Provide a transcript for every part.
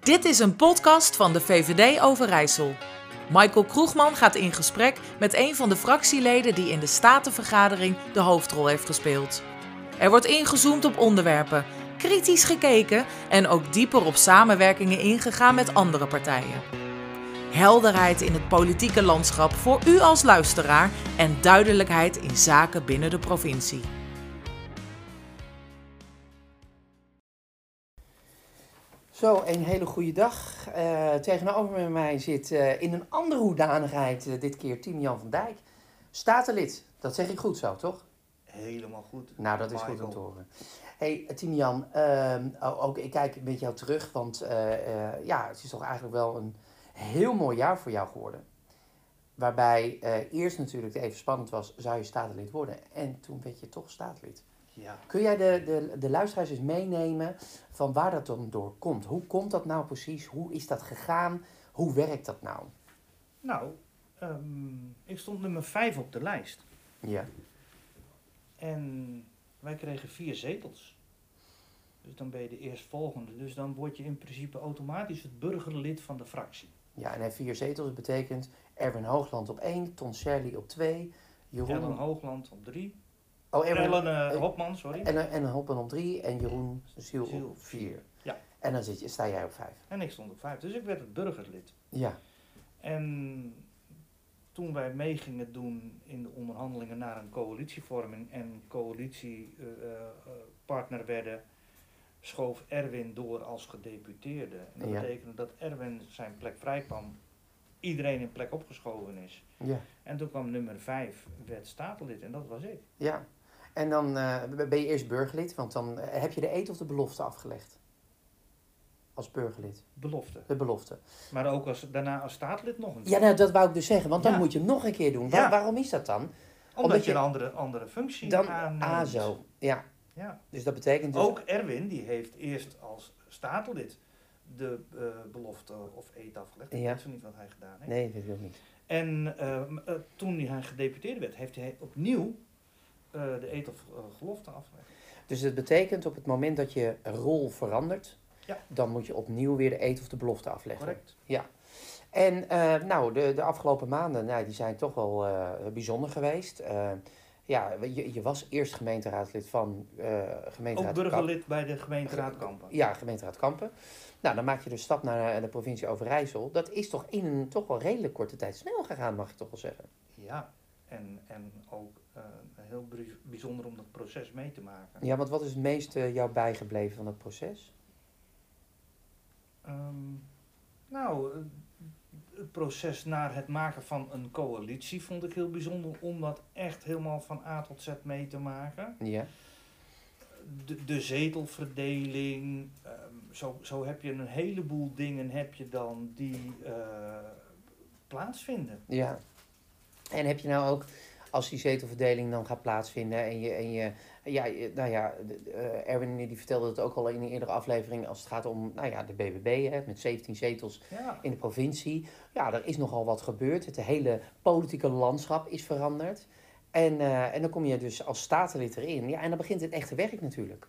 Dit is een podcast van de VVD Overijssel. Michael Kroegman gaat in gesprek met een van de fractieleden die in de statenvergadering de hoofdrol heeft gespeeld. Er wordt ingezoomd op onderwerpen, kritisch gekeken en ook dieper op samenwerkingen ingegaan met andere partijen. Helderheid in het politieke landschap voor u als luisteraar en duidelijkheid in zaken binnen de provincie. Zo, een hele goede dag. Eh, tegenover mij zit eh, in een andere hoedanigheid, eh, dit keer Tim Jan van Dijk, statenlid. Dat zeg ik goed zo, toch? Helemaal goed. Nou, dat is goed om Michael. te horen. hey, Tim Jan, ehm, o- ook ik kijk met jou terug, want eh, eh, ja, het is toch eigenlijk wel een heel mooi jaar voor jou geworden. Waarbij eh, eerst natuurlijk het even spannend was, zou je statenlid worden? En toen werd je toch statenlid. Ja, Kun jij de, de, de luisteraars eens meenemen van waar dat dan door komt? Hoe komt dat nou precies? Hoe is dat gegaan? Hoe werkt dat nou? nou, ehm, ik stond nummer 5 op de lijst. Ja. En wij kregen vier zetels. Dus dan ben je de eerstvolgende. Dus dan word je in principe automatisch het burgerlid van de fractie. Ja, en hij vier zetels betekent Erwin Hoogland op één, Ton Shirley op twee, Jeroen... Ellen Hoogland op drie. oh, Erwin- Ellen eh, eh, Hopman, sorry. en, en Hoppen op drie en Jeroen Ziel Ziel op op vier. Ja. En dan zit je, sta jij op vijf. En ik stond op vijf. Dus ik werd het burgerlid. Ja. En toen wij mee gingen doen in de onderhandelingen naar een coalitievorming en eh, coalitiepartner werden, schoof Erwin door als gedeputeerde. En dat Ja. betekende dat Erwin zijn plek vrij kwam, iedereen in plek opgeschoven is. Ja. En toen kwam nummer 5, werd statenlid, en dat was ik. Ja. En dan eh, ben je eerst burgerlid, want dan eh, heb je de eet of de belofte afgelegd. Als burgerlid. Belofte. De belofte. Maar ook als, daarna als statenlid nog een keer. Ja, nou, dat wou ik dus zeggen, want dan Ja. moet je hem nog een keer doen. Ja. Waar- waarom is dat dan? omdat, omdat je je- een andere, andere functie Dan Ah, aanneemt. ASO. Ja, Ja. dus dat betekent dus... Ook Erwin, die heeft eerst als statenlid de eh, belofte of eet afgelegd. Ik Ja. weet zo niet wat hij gedaan heeft. Nee, dat weet ik ook niet. En ehm, eh, toen hij gedeputeerd werd, heeft hij opnieuw eh, de eet of eh, gelofte afgelegd. Dus dat betekent op het moment dat je rol verandert, Ja. dan moet je opnieuw weer de eet of de belofte afleggen. Correct. En eh, nou, de, de afgelopen maanden, nou, die zijn toch wel eh, bijzonder geweest. Eh, ja, je, je was eerst gemeenteraadslid van eh gemeenteraad Ook burgerlid bij de gemeenteraad Ge- Kampen. Eh, Ja, gemeenteraad Kampen. Nou, dan maak je de stap naar eh, de provincie Overijssel. Dat is toch in een toch wel redelijk korte tijd snel gegaan, mag ik toch wel zeggen. Ja. En, en ook eh, heel bri- bijzonder om dat proces mee te maken. Ja, want wat is het meest eh, jou bijgebleven van het proces? Ehm, nou, eh, het proces naar het maken van een coalitie vond ik heel bijzonder om dat echt helemaal van A tot Z mee te maken. Ja. De, de zetelverdeling, ehm, zo, zo heb je een heleboel dingen heb je dan die eh, plaatsvinden. ja. En heb je nou ook, als die zetelverdeling dan gaat plaatsvinden en je, en je ja, je- nou ja, de- de, eh, Erwin die vertelde het ook al in een eerdere aflevering als het gaat om, nou ja, de BBB hè, met 17 zetels Ja, in de provincie. Ja, er is nogal wat gebeurd. Het hele politieke landschap is veranderd. En, eh, en dan kom je dus als statenlid erin. Ja, en dan begint het echte werk natuurlijk.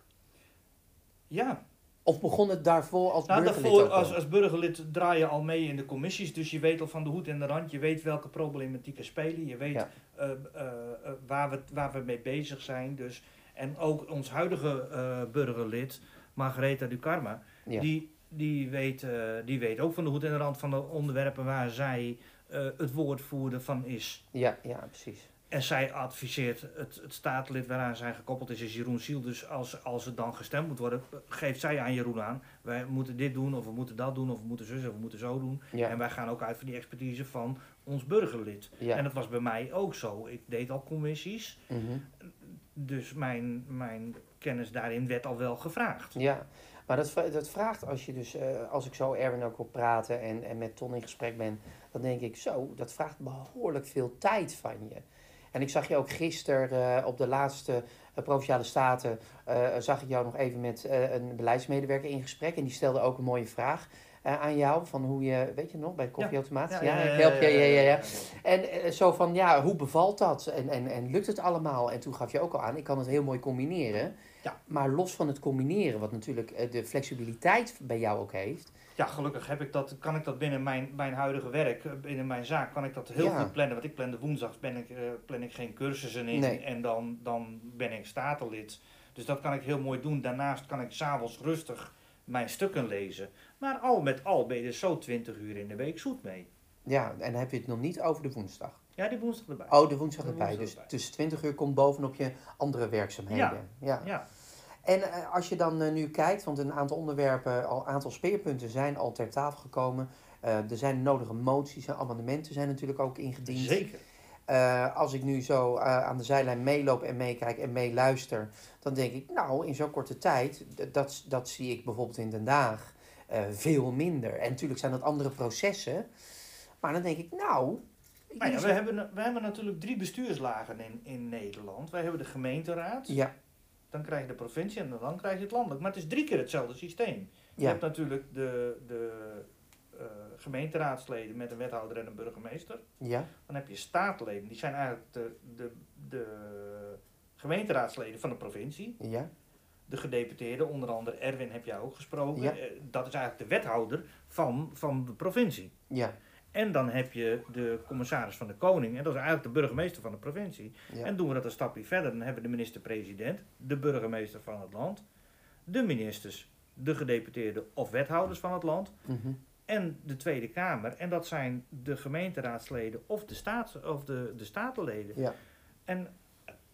ja. Of begon het daarvoor als Nou, burgerlid daarvoor ook al? als, als burgerlid draai je al mee in de commissies, dus je weet al van de hoed en de rand, je weet welke problematieken spelen, je weet Ja. eh, eh, eh, waar, we, waar we mee bezig zijn. Dus, en ook ons huidige eh, burgerlid, Margaretha Ducarma, Ja. die, die, weet, eh, die weet ook van de hoed en de rand van de onderwerpen waar zij eh, het woordvoerder van is. Ja, ja, precies. En zij adviseert het, het staatslid waaraan zij gekoppeld is, is Jeroen Siel. Dus als, als er dan gestemd moet worden, geeft zij aan Jeroen aan. Wij moeten dit doen, of we moeten dat doen, of we moeten zus, of we moeten zo doen. Ja, En wij gaan ook uit van die expertise van ons burgerlid. En ja. dat was bij mij ook zo. Ik deed al commissies, mhm. dus mijn, mijn kennis daarin werd al wel gevraagd. Ja, maar dat, v- dat vraagt als je dus, eh, als ik zo Erwin ook wil praten en, en met Ton in gesprek ben, dan denk ik zo, dat vraagt behoorlijk veel tijd van je. En ik zag je ook gisteren eh, op de laatste eh, Provinciale Staten, eh, zag ik jou nog even met eh, een beleidsmedewerker in gesprek. En die stelde ook een mooie vraag eh, aan jou, van hoe je, weet je nog, bij de koffieautomaat? Ja, ik help je, ja, ja, ja. En eh, zo van, ja, hoe bevalt dat? En, en, en lukt het allemaal? En toen gaf je ook al aan, ik kan het heel mooi combineren. Ja. Maar los van het combineren, wat natuurlijk eh, de flexibiliteit bij jou ook heeft, Ja, gelukkig heb ik dat, kan ik dat binnen mijn, mijn huidige werk, eh, binnen mijn zaak, kan ik dat heel Ja. goed plannen. Want ik plan de woensdags, ben ik, eh, plan ik geen cursussen in Nee. en dan, dan ben ik statenlid. Dus dat kan ik heel mooi doen. Daarnaast kan ik s'avonds rustig mijn stukken lezen. Maar al met al ben je er zo 20 uur in de week zoet mee. Ja, en dan heb je het nog niet over de woensdag. Ja, die woensdag erbij. Oh, de woensdag De erbij. woensdag Dus erbij. tussen 20 uur komt bovenop je andere werkzaamheden. Ja. Ja, En eh, als je dan eh, nu kijkt, want een aantal onderwerpen, al een aantal speerpunten zijn al ter tafel gekomen. Eh, er zijn nodige moties en amendementen zijn natuurlijk ook ingediend. zeker. Eh, als ik nu zo eh, aan de zijlijn meeloop en meekijk en meeluister, dan denk ik, nou, in zo'n korte tijd, d- dat, dat zie ik bijvoorbeeld in Den Haag eh, veel minder. En natuurlijk zijn dat andere processen, maar dan denk ik, nou, Nou ja, jullie we, zijn- hebben, we hebben natuurlijk drie bestuurslagen in, in Nederland. Wij hebben de gemeenteraad, ja, dan krijg je de provincie en dan krijg je het landelijk. Maar het is drie keer hetzelfde systeem. Je ja, hebt natuurlijk de, de eh, gemeenteraadsleden met een wethouder en een burgemeester. ja, Dan heb je staatleden, die zijn eigenlijk de, de, de gemeenteraadsleden van de provincie. ja, De gedeputeerden, onder andere Erwin heb jij ook gesproken. Ja. Eh, dat is eigenlijk de wethouder van, van de provincie. ja, En dan heb je de commissaris van de koning. En dat is eigenlijk de burgemeester van de provincie. ja, En doen we dat een stapje verder, dan hebben we de minister-president, de burgemeester van het land, de ministers, de gedeputeerden of wethouders van het land mhm, en de Tweede Kamer. En dat zijn de gemeenteraadsleden of de, staat, of de, de statenleden. ja. En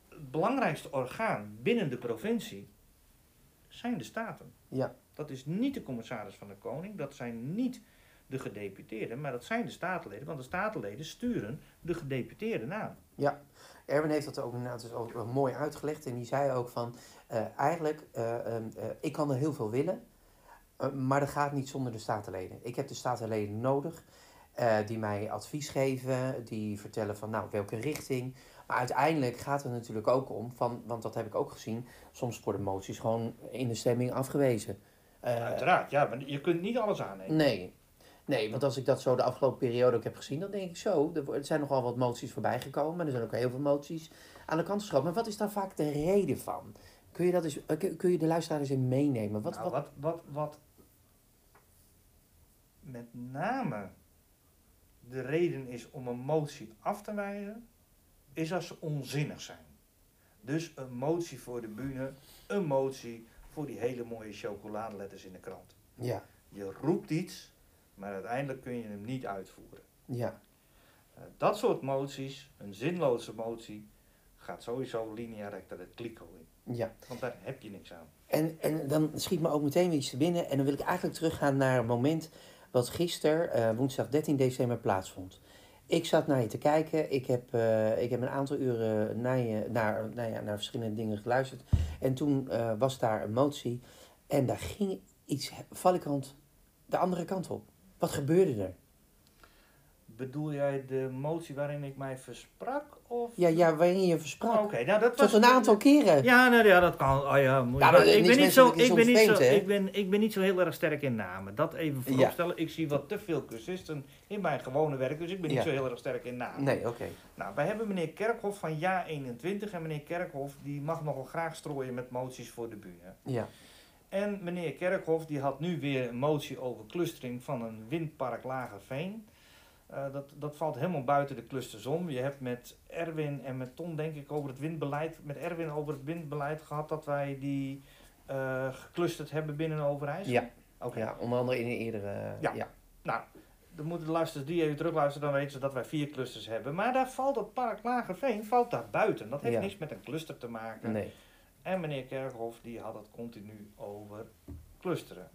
het belangrijkste orgaan binnen de provincie zijn de staten. Ja. Dat is niet de commissaris van de koning, dat zijn niet de gedeputeerden, maar dat zijn de statenleden, want de statenleden sturen de gedeputeerden aan. Erwin heeft dat ook inderdaad dus ook wel mooi uitgelegd. En die zei ook van, eh, eigenlijk, eh, ehm, eh, ik kan er heel veel willen. eh, maar dat gaat niet zonder de statenleden. Ik heb de statenleden nodig. eh, die mij advies geven. Die vertellen van, nou, welke richting. Maar uiteindelijk gaat het natuurlijk ook om, van, want dat heb ik ook gezien. Soms worden moties gewoon in de stemming afgewezen. Eh, Uiteraard, ja, maar je kunt niet alles aannemen. Nee. Nee, want als ik dat zo de afgelopen periode ook heb gezien, dan denk ik zo, er wo- er zijn nogal wat moties voorbij gekomen. En er zijn ook heel veel moties aan de kant geschoven. Maar wat is daar vaak de reden van? Kun je, dat eens, eh, kun- kun je de luisteraars in meenemen? Wat, nou, wat, wat, wat, wat met name de reden is om een motie af te wijzen, is als ze onzinnig zijn. Dus een motie voor de bühne, een motie voor die hele mooie chocoladeletters in de krant. ja, Je roept iets, maar uiteindelijk kun je hem niet uitvoeren. ja, Eh, dat soort moties, een zinloze motie, gaat sowieso linea recta de kliko in. ja. Want daar heb je niks aan. En, en dan schiet me ook meteen weer iets te binnen. En dan wil ik eigenlijk teruggaan naar een moment wat gisteren, eh, woensdag 13 december, plaatsvond. Ik zat naar je te kijken. Ik heb, eh, ik heb een aantal uren naar, je, naar, nou ja, naar verschillende dingen geluisterd. En toen eh, was daar een motie. En daar ging iets he- valikant de andere kant op. Wat gebeurde er? Bedoel jij de motie waarin ik mij versprak? Of... Ja, ja waarin je Oké, versprak. nou dat was... Tot een aantal keren. Ja, nou ja, dat kan. Oh ja, moet je- Ja, maar, eh, ik, niks ben niet mensen zo, dat je ik, ben soms niet zo, denkt, hè? ik, ben, ik ben niet zo heel erg sterk in namen. Dat even vooropstellen. Ik zie wat te veel cursisten in mijn gewone werk, dus ik ben niet Ja. zo heel erg sterk in namen. Nee, oké. Nou, wij hebben meneer Kerkhoff van Ja 21 en meneer Kerkhoff die mag nogal graag strooien met moties voor de buren. Ja, En meneer Kerkhoff die had nu weer een motie over clustering van een windpark Lagerveen. Eh dat, dat valt helemaal buiten de clusters om. Je hebt met Erwin en met Ton denk ik over het windbeleid, met Erwin over het windbeleid gehad dat wij die eh, geclusterd hebben binnen Overijssel. Ja. Oké. ja onder andere in een eerdere... Ja. ja. Nou, dan moeten de luisteraars die even terugluisteren, dan weten ze dat wij vier clusters hebben. Maar daar valt het park Lagerveen valt daar buiten. Dat heeft Ja. niks met een cluster te maken. Nee. En meneer Kerkhoff die had het continu over clusteren.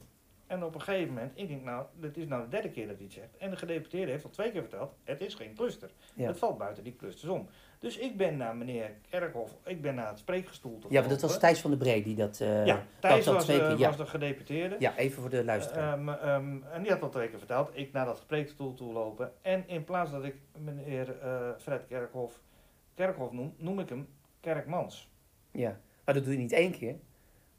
En op een gegeven moment, ik denk nou, dit is nou de derde keer dat hij het zegt. En de gedeputeerde heeft al twee keer verteld, het is geen cluster. Ja. Het valt buiten die clusters om. Dus ik ben naar meneer Kerkhoff, ik ben naar het spreekgestoelte Ja, want dat was gelopen. Thijs van de Bree die dat... eh, Ja, Thijs dat was, twee eh, keer, ja. was de gedeputeerde. Ja, even voor de luisteraar. Ehm, ehm, en die had al twee keer verteld, ik naar dat spreekstoel toe lopen. En in plaats dat ik meneer eh, Fred Kerkhoff Kerkhoff noem, noem ik hem Kerkmans. ja. Maar dat doe je niet één keer.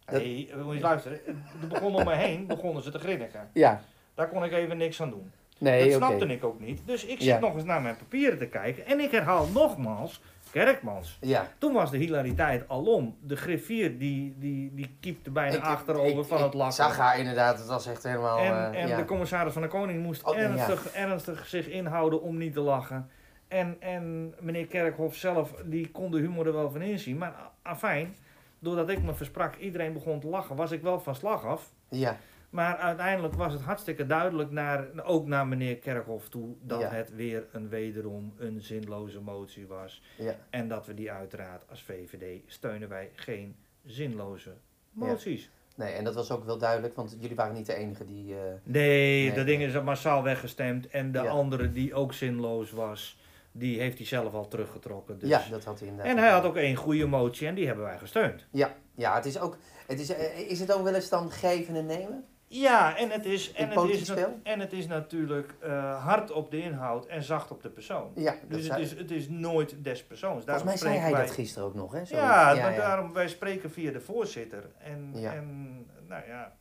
Dat- Nee, hey, eh, moet je luisteren. Er begon om me heen, begonnen ze te grinniken. Ja. Daar kon ik even niks aan doen. Nee, dat oké. snapte ik ook niet. Dus ik zit Ja. nog eens naar mijn papieren te kijken. En ik herhaal nogmaals Kerkmans. Ja. Toen was de hilariteit alom. De griffier die, die, die kiepte bijna achterover ik- van ik het lachen. zag haar inderdaad, het was echt helemaal... En, eh, en ja. de commissaris van de Koning moest Oh, ja. ernstig, ernstig zich inhouden om niet te lachen. En, en meneer Kerkhoff zelf, die kon de humor er wel van inzien. Maar afijn, doordat ik me versprak, iedereen begon te lachen, was ik wel van slag af. ja. Maar uiteindelijk was het hartstikke duidelijk, naar, ook naar meneer Kerkhoff toe, dat Ja. het weer een wederom een zinloze motie was. Ja. En dat we die uiteraard als VVD steunen wij geen zinloze moties. Nee, en dat was ook wel duidelijk, want jullie waren niet de enige die... eh, Nee, Nee. dat ding is massaal weggestemd. En de Ja. andere die ook zinloos was, die heeft hij zelf al teruggetrokken. Dus. Ja, dat had hij inderdaad. en hij had ook één goede motie en die hebben wij gesteund. Ja, ja het is ook... Het is, eh, is het ook wel eens dan geven en nemen? Ja, en het is, In en het is, politiek na- spel? en het is natuurlijk eh, hard op de inhoud en zacht op de persoon. Ja, dat Dus het zei- is, het is nooit des persoons. Daarom volgens mij zei hij spreken wij- dat gisteren ook nog, hè? Zo. Ja, maar daarom, wij spreken via de voorzitter. En, Ja. en nou ja,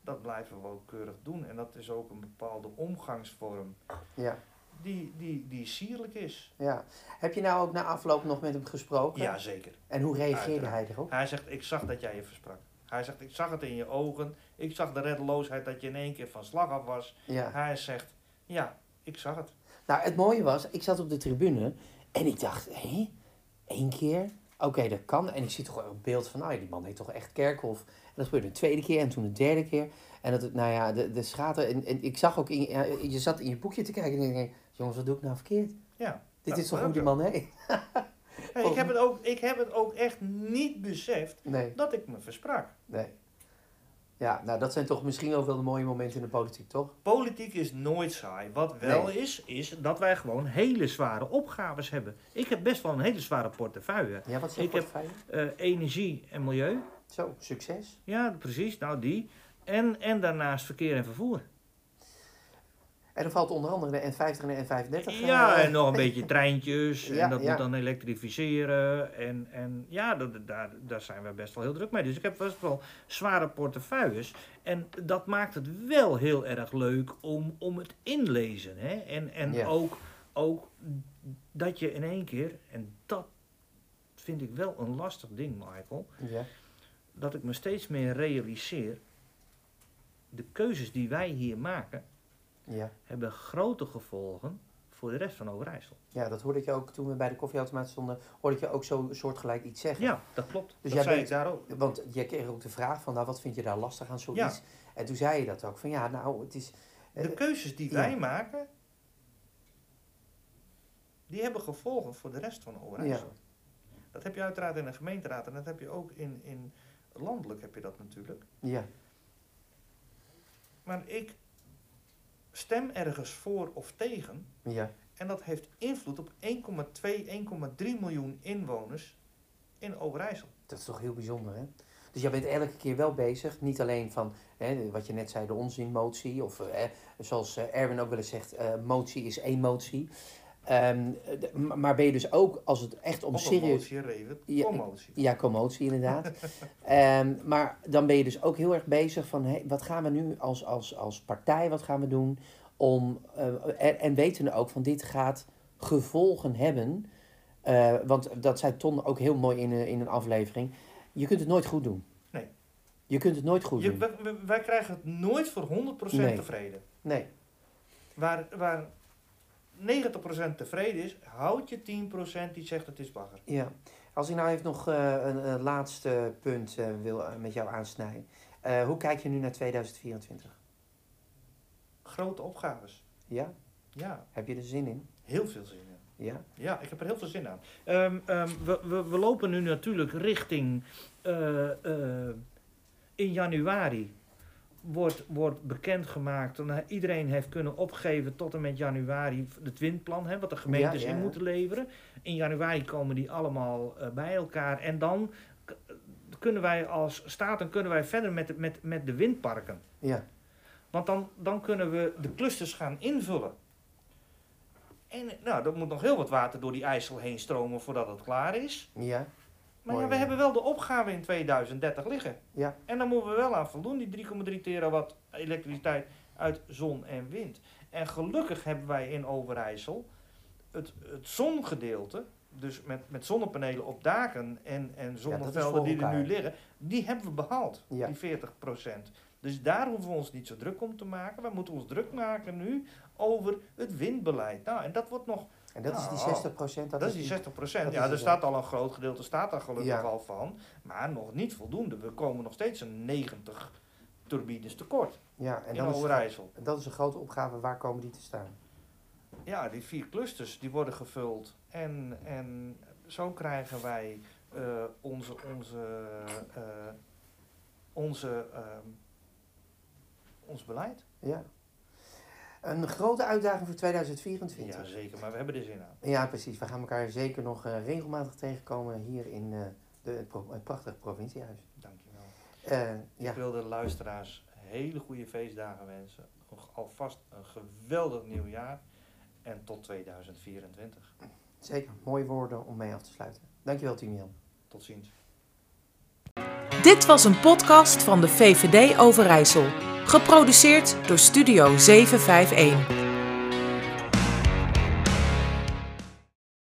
dat blijven we ook keurig doen. En dat is ook een bepaalde omgangsvorm Ja, die, die, die sierlijk is. ja. Heb je nou ook na afloop nog met hem gesproken? Ja, zeker. En hoe reageerde Uiteraard. hij erop? Hij zegt, ik zag dat jij je versprak. Hij zegt, ik zag het in je ogen. Ik zag de reddeloosheid dat je in één keer van slag af was. Ja. Hij zegt, ja, ik zag het. Nou, het mooie was, ik zat op de tribune en ik dacht, hé, één keer? Oké, dat kan. En ik zie toch een beeld van, nou ja, die man heet toch echt Kerkhof. En dat gebeurde een tweede keer en toen een derde keer. En dat, het- nou ja, de, de schater, en, en ik zag ook, in, ja, je zat in je boekje te kijken en ik denk, jongens, wat doe ik nou verkeerd? Ja. Dit Nou, is toch maar hoe die ook man heet? Hey, ik, heb het ook, ik heb het ook echt niet beseft Nee, dat ik me versprak. nee. Ja, nou dat zijn toch misschien ook wel de mooie momenten in de politiek, toch? Politiek is nooit saai. Wat wel Nee. is, is dat wij gewoon hele zware opgaves hebben. Ik heb best wel een hele zware portefeuille. Ja, wat is jouw Ik heb- portefeuille? Eh, energie en milieu. Zo, succes. Ja, precies. Nou, die. En, en daarnaast verkeer en vervoer. En dan valt onder andere de N50 en de N35. eh, Ja, en nog een beetje treintjes. Ja, en dat ja. moet dan elektrificeren. En, en ja, dat, daar, daar zijn we best wel heel druk mee. Dus ik heb best wel zware portefeuilles. En dat maakt het wel heel erg leuk om, om het inlezen. Hè? En, en Ja. ook, ook dat je in één keer, en dat vind ik wel een lastig ding, Michael. Ja, Dat ik me steeds meer realiseer. De keuzes die wij hier maken, ja. hebben grote gevolgen voor de rest van Overijssel. Ja, dat hoorde ik je ook toen we bij de koffieautomaat stonden, hoorde ik je ook zo soortgelijk iets zeggen. Ja, dat klopt. Dus Dus jij dat zei bent- ik daar ook. Want je kreeg ook de vraag van, nou, wat vind je daar lastig aan zoiets? En toen zei je dat ook, van ja, nou, het is... eh, De keuzes die ja. wij maken, die hebben gevolgen voor de rest van Overijssel. Dat heb je uiteraard in de gemeenteraad en dat heb je ook in, in landelijk heb je dat natuurlijk. ja, Maar ik stem ergens voor of tegen ja, en dat heeft invloed op 1,2, 1,3 miljoen inwoners in Overijssel. dat is toch heel bijzonder, hè? Dus jij bent elke keer wel bezig, niet alleen van, hè, wat je net zei, de onzinmotie, of eh, zoals eh, Erwin ook wel eens zegt, eh, motie is één motie. Ehm, de- m- maar ben je dus ook, als het echt om Of een serieus... motie, reden, Ja, commotie. Ja, commotie inderdaad. Ehm, maar dan ben je dus ook heel erg bezig van hé, wat gaan we nu als, als, als partij, wat gaan we doen om, eh, en, en weten ook van dit gaat gevolgen hebben. Eh, want dat zei Ton ook heel mooi in, een- in een aflevering. Je kunt het nooit goed doen. Nee. Je kunt het nooit goed Je, doen. wij, wij- wij krijgen het nooit voor 100% Nee. tevreden. Nee, Waar, waar 90% tevreden is, houd je 10% die zegt het is bagger. ja. Als ik nou even nog eh, een, een laatste punt eh, wil eh, met jou aansnijden. Eh, hoe kijk je nu naar 2024? Grote opgaves. Ja? Ja, Heb je er zin in? heel veel zin in. Ja? Ja, ik heb er heel veel zin aan. Ehm, ehm, we, we, we lopen nu natuurlijk richting. eh, eh, in januari wordt, wordt bekendgemaakt. En, eh, iedereen heeft kunnen opgeven tot en met januari het windplan, hè, wat de gemeentes Ja, ja. in moeten leveren. In januari komen die allemaal eh, bij elkaar. En dan k- kunnen wij als staten kunnen wij verder met, de- met, met de windparken. Ja. Want dan, dan kunnen we de clusters gaan invullen. En nou, er moet nog heel wat water door die IJssel heen stromen voordat het klaar is. Ja? Maar ja, Mooi, we ja. hebben wel de opgave in 2030 liggen. Ja. En daar moeten we wel aan voldoen, die 3,3 terawatt elektriciteit uit zon en wind. En gelukkig hebben wij in Overijssel het, het zongedeelte dus met, met zonnepanelen op daken en, en voor zonnevelden die er nu elkaar. liggen, die hebben we behaald, Ja. die 40 Dus daar hoeven we ons niet zo druk om te maken. We moeten ons druk maken nu over het windbeleid. Nou, en dat wordt nog, En dat is die Nou, 60 procent. dat, is die 60 dat Ja, is er het, staat al een groot gedeelte, staat daar gelukkig Ja. al van. Maar nog niet voldoende. We komen nog steeds een 90 turbines tekort Ja, en in dan is, Overijssel. dat is een grote opgave. Waar komen die te staan? Ja, die vier clusters die worden gevuld. En, en zo krijgen wij eh, onze, onze, eh, onze, ehm, ons beleid. Ja. Een grote uitdaging voor 2024. Ja, zeker. Maar we hebben er zin aan. Ja, precies. We gaan elkaar zeker nog eh, regelmatig tegenkomen hier in eh, de, het, pro- het prachtige provinciehuis. Dankjewel. Eh, ja, Ik wil de luisteraars hele goede feestdagen wensen. Nog Alvast een geweldig nieuwjaar. En tot 2024. zeker. Mooie woorden om mee af te sluiten. Dankjewel, Timian. Tot ziens. Dit was een podcast van de VVD Overijssel, geproduceerd door Studio 751.